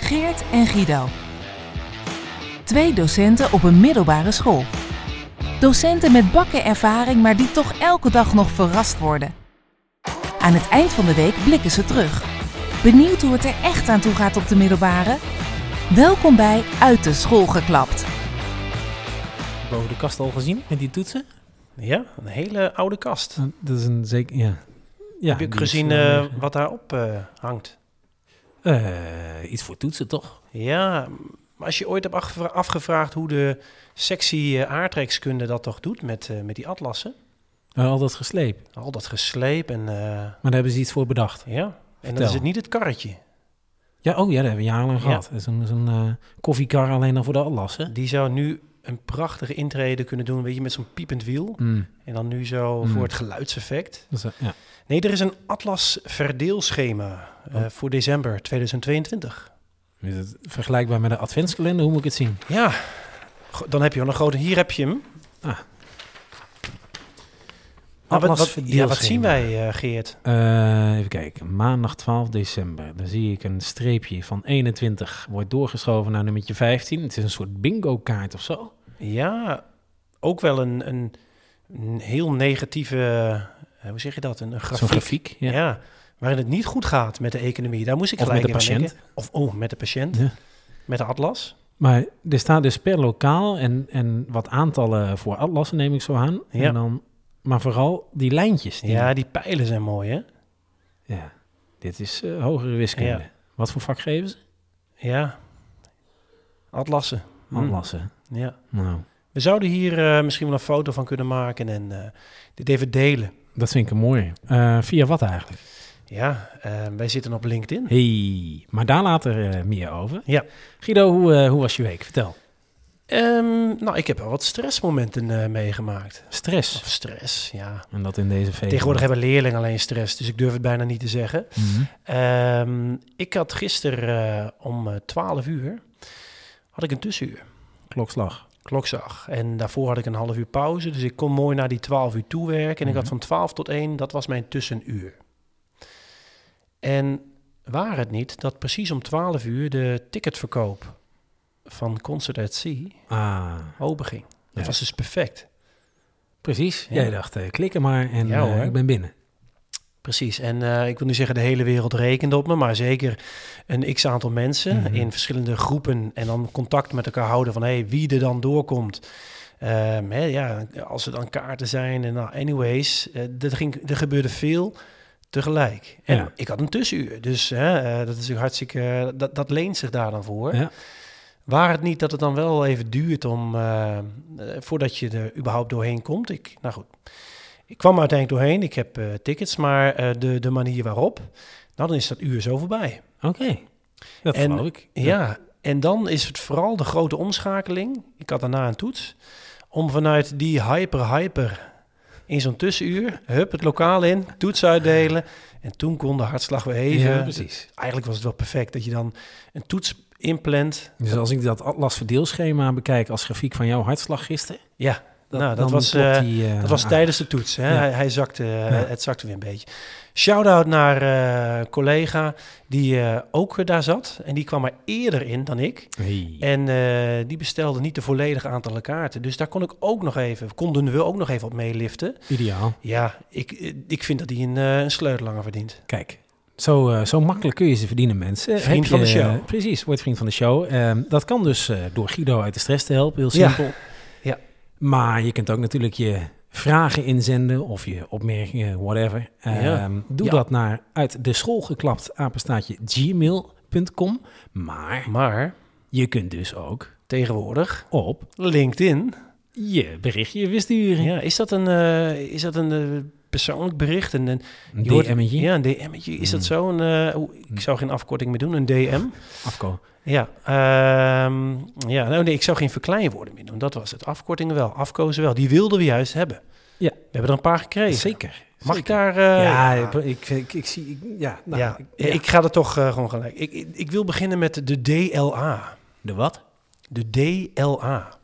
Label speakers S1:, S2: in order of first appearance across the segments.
S1: Geert en Guido. Twee docenten op een middelbare school. Docenten met bakken ervaring, maar die toch elke dag nog verrast worden. Aan het eind van de week blikken ze terug. Benieuwd hoe het er echt aan toe gaat op de middelbare? Welkom bij Uit de School geklapt.
S2: Boven de kast al gezien met die toetsen?
S3: Ja, een hele oude kast.
S2: Dat is een zeker. Ja. ja
S3: Heb je ook
S2: die
S3: gezien
S2: is, eh,
S3: eh, wat daarop eh, hangt?
S2: eh, iets voor toetsen toch?
S3: Ja, maar als je ooit hebt afgevra- afgevraagd hoe de sectie eh, aardrijkskunde dat toch doet met, eh, met die atlassen.
S2: Eh, al dat gesleep.
S3: Al dat gesleep en eh,
S2: Maar daar hebben ze iets voor bedacht.
S3: ja. En dan
S2: Vertel.
S3: is het niet het karretje.
S2: Ja, oh ja, dat hebben we jarenlang
S3: Ja.
S2: gehad. Dat is een, zo'n, eh, koffiekar alleen dan voor de atlassen.
S3: Die zou nu een prachtige intrede kunnen doen, weet je, met zo'n piepend wiel.
S2: Mm,
S3: En dan nu zo
S2: Mm.
S3: voor het geluidseffect.
S2: dat is, eh, ja.
S3: Nee, er is een atlas verdeelschema eh,
S2: Oh.
S3: voor december 2022.
S2: Is het vergelijkbaar met een adventskalender? Hoe moet ik het zien?
S3: Ja, Go- dan heb je wel een grote... Hier heb je hem.
S2: Ah,
S3: Nou, wat, wat- ja, wat zien wij, eh, Geert?
S2: Eh, even kijken, maandag 12 december. Dan zie ik een streepje van 21 wordt doorgeschoven naar nummertje 15. Het is een soort bingo kaart of zo.
S3: Ja, ook wel een, een, een heel negatieve, eh, hoe zeg je dat, een, een grafiek.
S2: Zo'n grafiek.
S3: ja.
S2: Ja.
S3: waarin het niet goed gaat met de economie. Daar moest ik
S2: Of
S3: gelijk
S2: met de
S3: aan
S2: patiënt.
S3: denken. Of oh, met de patiënt,
S2: Ja.
S3: met de atlas.
S2: Maar er staat dus per lokaal en, en wat aantallen voor atlassen neem ik zo aan.
S3: Ja.
S2: En dan, maar vooral die lijntjes. Die,
S3: Ja, die pijlen zijn mooi, hè?
S2: Ja. Dit is eh, hogere wiskunde.
S3: Ja.
S2: Wat voor vak geven ze?
S3: Ja, atlassen. Hm.
S2: Atlassen.
S3: Ja.
S2: Nou,
S3: We zouden hier eh, misschien wel een foto van kunnen maken en eh, dit even delen.
S2: dat vind ik een mooie. Eh, via wat eigenlijk?
S3: Ja, eh, wij zitten op LinkedIn.
S2: Hey, maar daar later eh, meer over.
S3: Ja.
S2: Guido, hoe, eh, hoe was je week? Vertel.
S3: Ehm, nou, ik heb wel wat stressmomenten eh, meegemaakt.
S2: Stress.
S3: Of stress, ja.
S2: En dat in deze feest.
S3: Tegenwoordig hebben leerlingen alleen stress, dus ik durf het bijna niet te zeggen.
S2: Mhm.
S3: Ehm, ik had gisteren eh, om eh, 12 uur had ik een tussenuur,
S2: klokslag.
S3: klokzag. En daarvoor had ik een half uur pauze, dus ik kon mooi naar die 12 uur toe werken. En ik had
S2: Mhm.
S3: van 12 tot 1, dat was mijn tussenuur. En waar het niet dat precies om 12 uur de ticketverkoop van Concert at Sea
S2: Ah,
S3: open ging. Dat
S2: Ja.
S3: was dus perfect.
S2: precies.
S3: Ja.
S2: Jij dacht, eh, klikken maar en
S3: Ja,
S2: eh,
S3: hoor.
S2: ik ben binnen.
S3: Precies, en eh, ik wil nu zeggen, de hele wereld rekende op me, maar zeker een x aantal mensen
S2: Mhm.
S3: in verschillende groepen en dan contact met elkaar houden van hey, wie er dan doorkomt. Ehm, hè, ja, als er dan kaarten zijn en nou, anyways, eh, dat ging, er gebeurde veel tegelijk. En
S2: Ja.
S3: ik had een tussenuur, dus hè, eh, dat is natuurlijk hartstikke, dat, dat leent zich daar dan voor.
S2: Ja.
S3: Waar het niet dat het dan wel even duurt om, eh, eh, voordat je er überhaupt doorheen komt. Ik, nou goed, ik kwam er uiteindelijk doorheen. Ik heb eh, tickets, maar eh, de, de manier waarop, nou dan is dat uur zo voorbij.
S2: Oké. Dat
S3: En-
S2: geloof ik.
S3: Ja. en dan is het vooral de grote omschakeling. Ik had daarna een toets. Om vanuit die hyper-hyper in zo'n tussenuur, hup het lokaal in, toets uitdelen. En toen kon de hartslag weer even.
S2: Ja, precies.
S3: Eigenlijk was het wel perfect dat je dan een toets inplant.
S2: Dus als ik dat atlas verdeelschema bekijk als grafiek van jouw hartslag gisteren.
S3: Ja, nou, dat
S2: dan
S3: was,
S2: klopt
S3: eh,
S2: die, eh,
S3: Dat was
S2: aan.
S3: tijdens de toets. Hè?
S2: Ja.
S3: Hij, hij zakte, eh, Het zakte weer een beetje. Shout-out naar eh, collega die eh, ook daar zat. En die kwam er eerder in dan ik.
S2: Hey.
S3: En eh, die bestelde niet de volledige aantallen kaarten. Dus daar kon ik ook nog even, konden we ook nog even op meeliften.
S2: Ideaal.
S3: Ja, ik, eh, ik vind dat hij een, eh, een sleutelanger verdient.
S2: Kijk, zo, eh, zo makkelijk kun je ze verdienen, mensen.
S3: Vriend
S2: Heb je- eh,
S3: van de show.
S2: Precies, wordt vriend van de show. Ehm, dat kan dus eh, door Guido uit de stress te helpen, heel
S3: Ja.
S2: simpel.
S3: Ja.
S2: Maar je kunt ook natuurlijk je vragen inzenden of je opmerkingen, whatever.
S3: Ja.
S2: Ehm, Doe
S3: Ja.
S2: dat naar uit de school geklapt apenstaatje gmail.com. Maar
S3: Maar
S2: je kunt dus ook
S3: tegenwoordig,
S2: op
S3: LinkedIn.
S2: je berichtje weer sturen.
S3: Ja, is dat een, eh, is dat een eh, persoonlijk bericht? Een, een,
S2: Een
S3: je hoort-
S2: DM'tje.
S3: Ja, een DM'tje. Is dat
S2: Hmm.
S3: zo? Een, eh, oeh, ik zou geen afkorting meer doen, een DM.
S2: Afko.
S3: Ja, ehm, ja nou nee, ik zou geen verkleinwoorden meer doen. Dat was het. Afkortingen wel, afkozen wel. Die wilden we juist hebben.
S2: Ja.
S3: We hebben er een paar gekregen.
S2: Zeker.
S3: Mag ik
S2: zeker.
S3: daar... eh,
S2: ja,
S3: ja,
S2: ik, ik, ik zie... ik- ja, nou,
S3: ja,
S2: ik- ja.
S3: ik ga er toch eh, gewoon gelijk. Ik, ik, ik wil beginnen met de DLA.
S2: De wat?
S3: De DLA.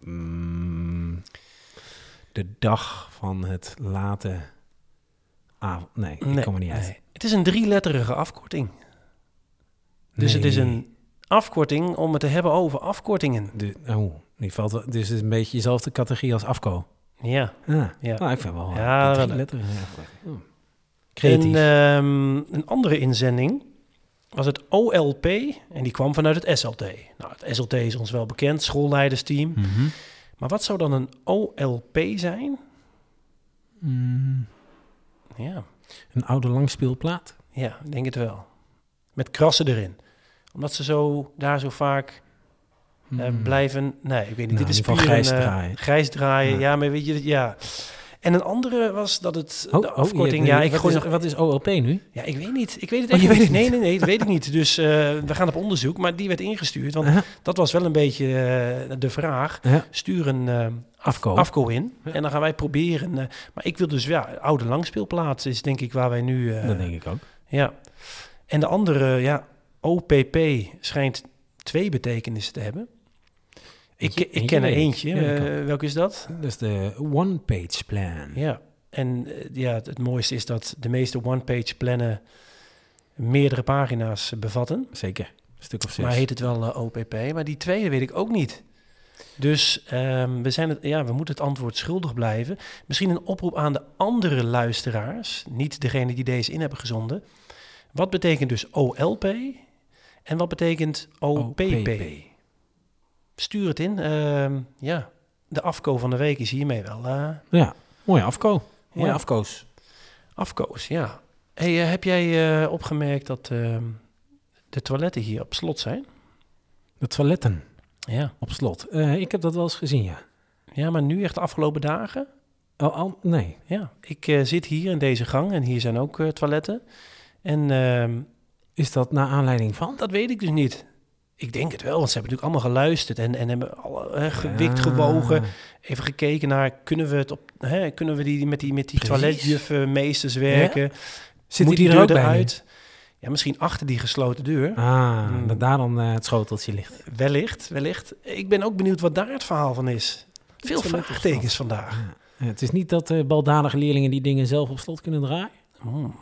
S2: Mm, de dag van het late avond. Nee, ik kom er niet uit.
S3: nee. Het is een drieletterige afkorting. Dus het is een afkorting om het te hebben over afkortingen.
S2: De, oh, die valt, wel- dus het is een beetje dezelfde categorie als AFCO.
S3: Ja.
S2: Ja,
S3: Ja.
S2: Nou, ik vind wel... dat
S3: Ja, wel
S2: drie
S3: leuk.
S2: letteren zijn echt leuk. Ja. Creatief.
S3: En ehm, een andere inzending was het OLP en die kwam vanuit het SLT. Nou, het SLT is ons wel bekend, schoolleidersteam.
S2: Mhm.
S3: Maar wat zou dan een OLP zijn?
S2: Mm,
S3: Ja,
S2: Een oude langspeelplaat.
S3: ja, ik denk het wel. Met krassen erin. Omdat ze zo, daar zo vaak eh,
S2: Mm.
S3: blijven... Nee, ik weet niet.
S2: Nou,
S3: dit is
S2: in ieder
S3: puur
S2: geval
S3: een,
S2: grijs
S3: eh,
S2: draaien.
S3: grijs draaien,
S2: Ja.
S3: ja. maar weet je... dat- Ja. En een andere was dat het...
S2: Oh,
S3: de
S2: oh,
S3: afkorting,
S2: je-
S3: ja, ik
S2: wat,
S3: gooi
S2: is,
S3: nog-
S2: wat is OLP nu?
S3: Ja, ik weet niet. Ik weet het
S2: Oh,
S3: echt
S2: je
S3: niet.
S2: weet het
S3: nee,
S2: niet.
S3: nee, nee, dat weet ik niet. Dus eh, we gaan op onderzoek. Maar die werd ingestuurd, want
S2: Aha.
S3: dat was wel een beetje eh, de vraag.
S2: Ja.
S3: Stuur een eh,
S2: Afko.
S3: afko in
S2: Ja.
S3: en dan gaan wij proberen. eh, maar ik wil dus, ja, oude langspeelplaats is denk ik waar wij nu... eh,
S2: dat denk ik ook.
S3: Ja. En de andere, ja, OPP schijnt twee betekenissen te hebben. Ik,
S2: Eentje-
S3: ik
S2: eentje
S3: ken er
S2: weet ik.
S3: eentje.
S2: Ja, ik
S3: Eh, welke is dat?
S2: Dat is de one-page plan.
S3: Ja. En eh, ja, het, het mooiste is dat de meeste one-page plannen meerdere pagina's bevatten.
S2: Zeker. Een stuk of zes.
S3: Maar heet het wel eh, OPP? Maar die tweede weet ik ook niet. Dus ehm, we, zijn het, ja, we moeten het antwoord schuldig blijven. Misschien een oproep aan de andere luisteraars, niet degene die deze in hebben gezonden. Wat betekent dus OLP en wat betekent OPP? Stuur het in. ehm, ja, de afko van de week is hiermee wel eh
S2: Ja, mooie afko. Mooie
S3: Ja.
S2: afko's.
S3: afkoos. Ja. Hey, eh, heb jij eh, opgemerkt dat ehm, de toiletten hier op slot zijn?
S2: De toiletten
S3: Ja.
S2: op slot. Eh, ik heb dat wel eens gezien, ja.
S3: Ja, maar nu echt de afgelopen dagen?
S2: Oh, al, nee.
S3: Ja, ik eh, zit hier in deze gang en hier zijn ook eh, toiletten. En ehm,
S2: Is dat naar aanleiding van?
S3: dat weet ik dus niet. Ik denk het wel, want ze hebben natuurlijk allemaal geluisterd en, en hebben alle, eh, gewikt,
S2: Ja.
S3: gewogen. Even gekeken naar, kunnen we, het op, hè, kunnen we die, met die, met die
S2: Precies.
S3: toiletjuffen, meesters werken?
S2: Zit
S3: Moet
S2: die, er
S3: deur
S2: ook bij uit?
S3: eruit? Ja, misschien achter die gesloten deur.
S2: Ah,
S3: Hmm.
S2: dat daar dan eh, het schoteltje ligt.
S3: Wellicht, wellicht. Ik ben ook benieuwd wat daar het verhaal van is. Veel
S2: is wel
S3: vraagtekens vandaag.
S2: Eh, het is niet dat eh, baldadige leerlingen die dingen zelf op slot kunnen draaien.
S3: Hmm.
S2: Zou, eh,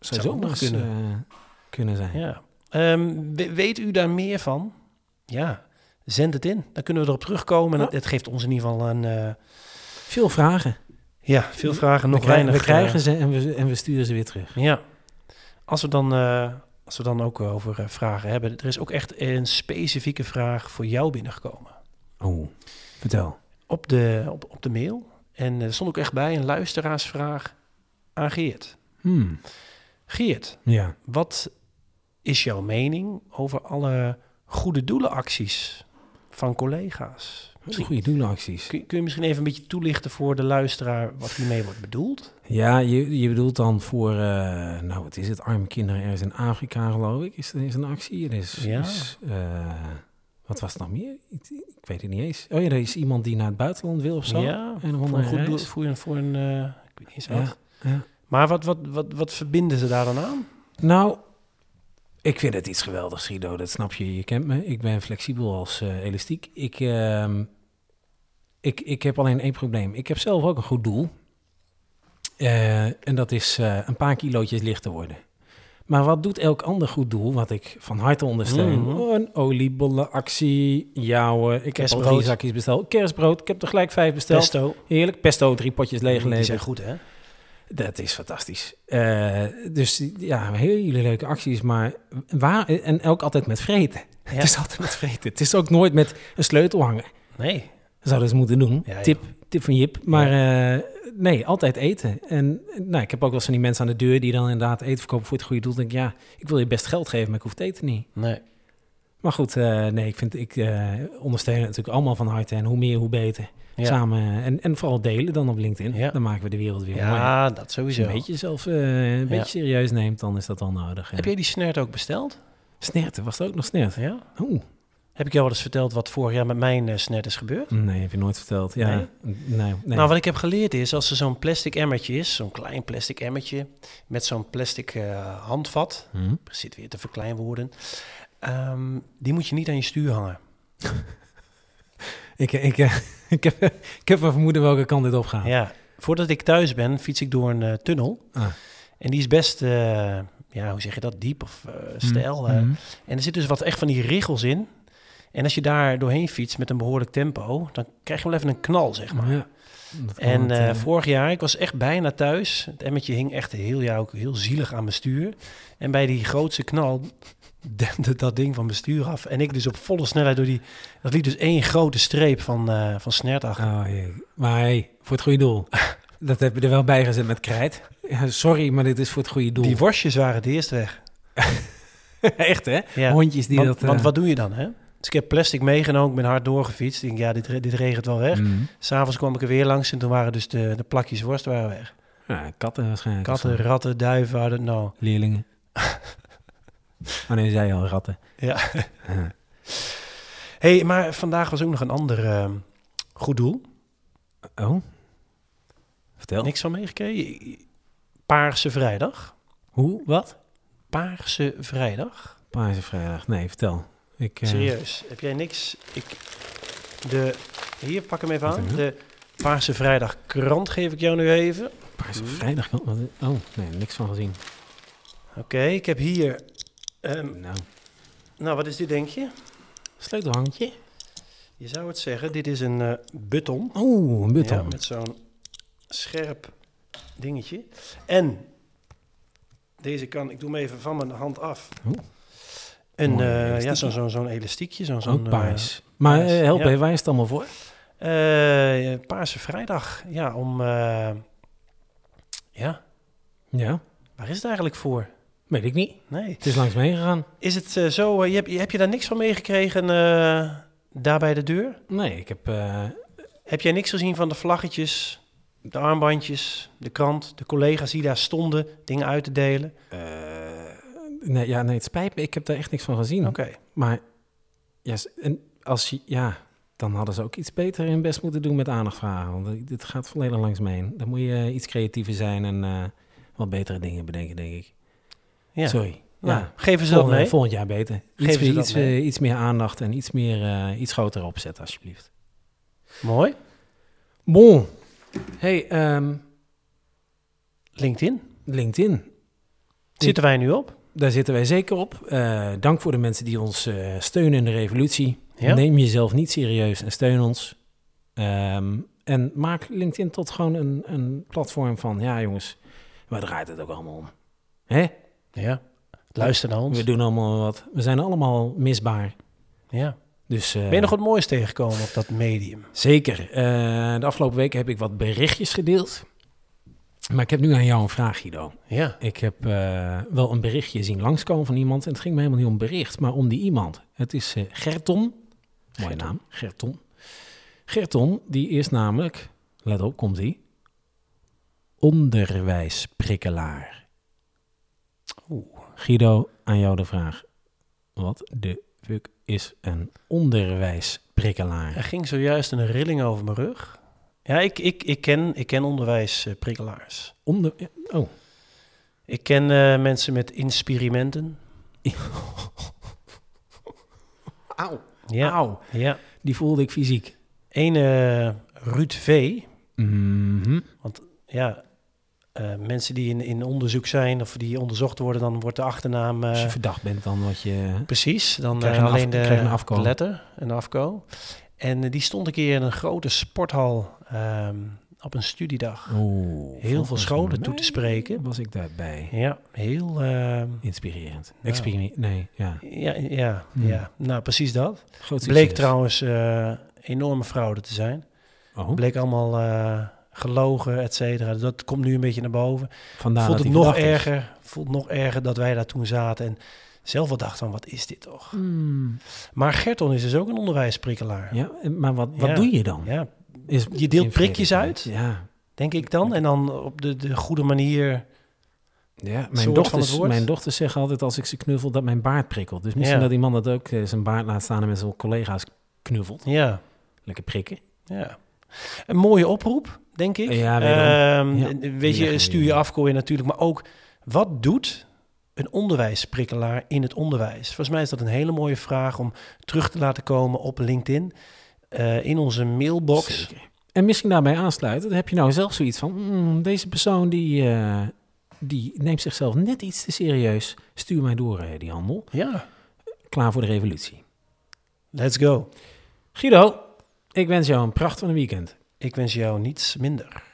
S3: Zou
S2: zo
S3: ook
S2: nog
S3: nog
S2: kunnen. kunnen zijn.
S3: Ja. Ehm, we- weet u daar meer van? Ja, zend het in. Dan kunnen we erop terugkomen.
S2: Ja.
S3: Het, het geeft ons in ieder geval een... eh,
S2: Veel vragen.
S3: ja, veel vragen, nog
S2: we, krijgen-
S3: weinig...
S2: we krijgen
S3: eh,
S2: ze en we, en we sturen ze weer terug.
S3: ja. Als we dan... eh, als we dan ook over eh, vragen hebben. Er is ook echt een specifieke vraag voor jou binnengekomen.
S2: Oh, vertel.
S3: Op de, op, op de mail. En eh, er stond ook echt bij een luisteraarsvraag aan Geert.
S2: Hmm.
S3: Geert,
S2: Ja.
S3: wat is jouw mening over alle goede doelenacties van collega's? Misschien
S2: Goede doelacties.
S3: Kun, kun je misschien even een beetje toelichten voor de luisteraar wat hiermee wordt bedoeld?
S2: Ja, je, je bedoelt dan voor, eh, nou wat is het, arme kinderen ergens in Afrika geloof ik, is, is een actie. Er is,
S3: Ja.
S2: is, eh, wat was het nog meer? Ik, ik weet het niet eens. Oh ja, er is iemand die naar het buitenland wil of zo.
S3: Ja,
S2: en
S3: voor een, goed doel-
S2: reis.
S3: voor een, voor een eh, ik weet niet eens
S2: Ja,
S3: wat.
S2: ja.
S3: Maar wat, wat, wat, wat verbinden ze daar dan aan?
S2: Nou, ik vind het iets geweldigs, Guido. Dat snap je. Je kent me. Ik ben flexibel als eh, elastiek. Ik, ehm, ik, ik heb alleen één probleem. Ik heb zelf ook een goed doel. Eh, en dat is eh, een paar kilootjes lichter worden. Maar wat doet elk ander goed doel, wat ik van harte ondersteun?
S3: Mhm.
S2: Oh, een oliebollenactie, jouwe. Ik heb al
S3: Kerstbrood.
S2: drie zakjes besteld. Kerstbrood, ik heb er gelijk vijf besteld.
S3: Pesto.
S2: Heerlijk, pesto, drie potjes
S3: Die
S2: leeggeleverd.
S3: zijn goed, hè?
S2: Dat is fantastisch. Eh, dus ja, hele leuke acties, maar waar, en ook altijd met vreten.
S3: Ja.
S2: Het is altijd met vreten. Het is ook nooit met een sleutel hangen.
S3: Nee.
S2: Dat zouden ze moeten doen.
S3: Ja, joh.
S2: tip, tip van Jip. Maar eh, nee, altijd eten. En eh, nou, ik heb ook wel eens van die mensen aan de deur die dan inderdaad eten verkopen voor het goede doel. Dan denk ik, ja, ik wil je best geld geven, maar ik hoef het eten niet.
S3: Nee.
S2: Maar goed, eh, nee, ik, vind, ik eh, ondersteun het natuurlijk allemaal van harte. En hoe meer, hoe beter.
S3: Ja.
S2: Samen. eh, En, en vooral delen dan op LinkedIn.
S3: Ja.
S2: Dan maken we de wereld weer mooier.
S3: Ja, dat
S2: Als
S3: sowieso.
S2: je een beetje zelf eh, een beetje serieus neemt, dan is dat al nodig. Ja.
S3: Heb jij die snert ook besteld?
S2: Snerten, was het ook nog snerten?
S3: Ja.
S2: Oeh,
S3: Heb ik jou wel eens verteld wat vorig jaar met mijn eh, snert is gebeurd?
S2: nee, heb je nooit verteld. Ja, nee. nee,
S3: Nou, wat ik heb geleerd is, als er zo'n plastic emmertje is, zo'n klein plastic emmertje, met zo'n plastic eh, handvat,
S2: Hm?
S3: ik zit weer te verkleinwoorden, ehm, die moet je niet aan je stuur hangen.
S2: ik, ik, eh, ik, heb, ik heb een vermoeden welke kant dit opgaat.
S3: Ja, voordat ik thuis ben, fiets ik door een eh, tunnel.
S2: Ah.
S3: En die is best, eh, ja, hoe zeg je dat, diep of eh,
S2: Mm. Hm.
S3: stijl. eh. En er zit dus wat echt van die riggels in. En als je daar doorheen fietst met een behoorlijk tempo, dan krijg je wel even een knal, zeg maar.
S2: Ja. Dat kan
S3: En
S2: het,
S3: eh,
S2: eh,
S3: vorig jaar, ik was echt bijna thuis. Het emmetje hing echt heel, ja, ook heel zielig aan mijn stuur. En bij die grootste knal dende dat ding van mijn stuur af. En ik dus op volle snelheid door die... Dat liep dus één grote streep van, eh van snert achter.
S2: Oh, jee. Maar hey, voor het goede doel. Dat heb je er wel bij gezet met krijt. Ja, sorry, maar dit is voor het goede doel.
S3: Die worstjes waren het eerst weg.
S2: Echt, hè?
S3: Ja.
S2: Hondjes die
S3: want,
S2: dat... eh,
S3: want wat doe je dan, hè? Dus ik heb plastic meegenomen, ik ben hard doorgefietst. Ik denk, ja, dit, re- dit regent wel weg.
S2: Mm.
S3: S'avonds kwam ik er weer langs en toen waren dus de, de plakjes worst waren weg.
S2: Ja, katten waarschijnlijk.
S3: Katten, ratten, duiven, nou I don't know.
S2: Leerlingen. oh nee, zij al ratten.
S3: Ja. hey, maar vandaag was ook nog een ander ehm, goed doel.
S2: Oh? Vertel.
S3: Niks van meegekregen? Paarse vrijdag.
S2: Hoe? Wat?
S3: Paarse vrijdag.
S2: Paarse vrijdag. Nee, vertel. Ik, eh,
S3: Serieus, heb jij niks? Ik, de, hier, pak hem even
S2: Wat
S3: aan.
S2: dan?
S3: De Paarse vrijdag krant geef ik jou nu even. Oké,
S2: Paarse vrijdag. kan- wat- Oh, nee, niks van gezien.
S3: ik heb hier... ehm,
S2: Nou,
S3: nou, wat is dit denk je?
S2: sleutelhangetje.
S3: Je zou het zeggen, dit is een eh, button.
S2: Oeh, een button.
S3: Ja, met zo'n scherp dingetje. En deze kan, ik doe hem even van mijn hand af.
S2: Oeh.
S3: Een,
S2: Mooi
S3: eh, ja,
S2: elastiekje.
S3: zo'n zo'n zo'n elastiekje. Zo'n zo'n
S2: Ook
S3: eh,
S2: paars. maar eh, help
S3: ja.
S2: even, waar is het allemaal voor?
S3: Eh, Paarse Vrijdag. Ja, om. eh, ja,
S2: Ja,
S3: waar is het eigenlijk voor?
S2: weet ik niet.
S3: Nee.
S2: Het is langs meegegaan.
S3: Is het eh, zo? eh, je hebt, je- heb je daar niks van meegekregen eh, daar bij de deur?
S2: Nee, ik heb... eh,
S3: Heb jij niks gezien van de vlaggetjes, de armbandjes, de krant, de collega's die daar stonden, dingen uit te delen?
S2: eh, nee, ja, nee, het spijt me. Ik heb daar echt niks van gezien.
S3: Oké.
S2: Maar ja, s- en als je, ja, dan hadden ze ook iets beter hun best moeten doen met aandacht vragen. Want eh, dit gaat volledig langs me heen. Dan moet je eh, iets creatiever zijn en eh, wat betere dingen bedenken, denk ik.
S3: Ja.
S2: Sorry.
S3: Nou,
S2: ja.
S3: geven ze dat
S2: Volgend,
S3: mee?
S2: volgend jaar beter. Iets,
S3: Geven ze
S2: meer,
S3: dat
S2: iets,
S3: mee?
S2: eh, iets meer aandacht en iets, meer, eh, iets groter opzet, alsjeblieft.
S3: Mooi.
S2: Bon. Hey, ehm,
S3: LinkedIn.
S2: LinkedIn.
S3: Zitten wij nu op?
S2: Daar zitten wij zeker op. Eh, dank voor de mensen die ons eh, steunen in de revolutie.
S3: Ja.
S2: Neem jezelf niet serieus en steun ons. Ehm, en maak LinkedIn tot gewoon een, een platform van... ja jongens, waar draait het ook allemaal om? Hè?
S3: Ja. Luister naar ons.
S2: We doen allemaal wat. We zijn allemaal misbaar.
S3: Ja.
S2: Dus,
S3: Ben je nog wat moois tegengekomen op dat medium?
S2: Zeker. Eh, de afgelopen weken heb ik wat berichtjes gedeeld. Maar ik heb nu aan jou een vraag, Guido.
S3: Ja.
S2: Ik heb eh, wel een berichtje zien langskomen van iemand. En het ging me helemaal niet om bericht, maar om die iemand. Het is eh, Gerton. Mooie
S3: Gerton.
S2: naam, Gerton. Gerton, die is namelijk, let op, komt die, onderwijsprikkelaar.
S3: Oeh.
S2: Guido, aan jou de vraag. Wat de fuck is een
S3: Er
S2: onderwijsprikkelaar?
S3: ging zojuist een rilling over mijn rug. Ja, ik, ik, ik ken, ik ken onderwijsprikkelaars.
S2: Onder... Oh,
S3: Ik ken eh, mensen met inspirimenten.
S2: Auw.
S3: Ja.
S2: Auw.
S3: ja.
S2: die voelde ik fysiek.
S3: Een eh, Ruud V.
S2: Mhm.
S3: Ja, eh, mensen die in, in onderzoek zijn of die onderzocht worden, dan wordt de achternaam... eh,
S2: Als je verdacht bent dan wat je...
S3: precies, dan
S2: Krijg je
S3: eh,
S2: een af-
S3: alleen de,
S2: krijg je een afko.
S3: de letter, een afko. En eh, die stond een keer in een grote sporthal ehm, op een studiedag.
S2: Oeh,
S3: Heel veel
S2: volgens
S3: scholen toe
S2: mij
S3: te spreken.
S2: Was ik daarbij.
S3: Ja, heel... ehm,
S2: Inspirerend.
S3: Nou.
S2: Experiment. Nee, ja.
S3: ja, ja,
S2: Hmm. dus.
S3: ja, nou precies dat.
S2: Groot
S3: Bleek
S2: succes.
S3: trouwens eh, enorme fraude te zijn.
S2: Oh,
S3: Bleek allemaal eh, gelogen, et cetera. Dat komt nu een beetje naar boven.
S2: vandaar
S3: Vond
S2: dat
S3: het
S2: hij
S3: nog
S2: verdacht is.
S3: erger. Vond nog erger dat wij daar toen zaten. En zelf wel dacht van, wat is dit toch?
S2: Hmm.
S3: Maar Gerton is dus ook een onderwijsprikkelaar.
S2: Ja, en- maar wat, wat
S3: Ja.
S2: doe je dan?
S3: Ja,
S2: Is
S3: je deelt
S2: in
S3: prikjes
S2: vredesnaam. Ja.
S3: denk ik dan. En dan op de, de goede manier.
S2: ja.
S3: Soort
S2: Mijn,
S3: van
S2: dochters,
S3: het woord.
S2: mijn dochters zeggen altijd als ik ze knuffel dat mijn baard prikkelt. Dus misschien
S3: Ja.
S2: dat die man dat ook eh, zijn baard laat staan en met zijn collega's knuffelt.
S3: Ja,
S2: Lekker prikken.
S3: ja. Een mooie oproep, denk ik.
S2: Ja, wederom.
S3: Ehm,
S2: Ja,
S3: en-
S2: die
S3: Weet
S2: leggen we
S3: je, stuur je
S2: hier.
S3: afkooien natuurlijk. Maar ook, wat doet een onderwijsprikkelaar in het onderwijs? Volgens mij is dat een hele mooie vraag om terug te laten komen op LinkedIn. eh, in onze mailbox.
S2: Zeker. En misschien daarbij aansluiten, dan heb je nou zelf zoiets van, hmm, deze persoon "Mm, die, eh, die neemt zichzelf net iets te serieus. Stuur mij door, eh, die handel.
S3: Ja,
S2: Klaar voor de revolutie.
S3: let's go.
S2: Guido, ik wens jou een prachtig weekend.
S3: Ik wens jou niets minder.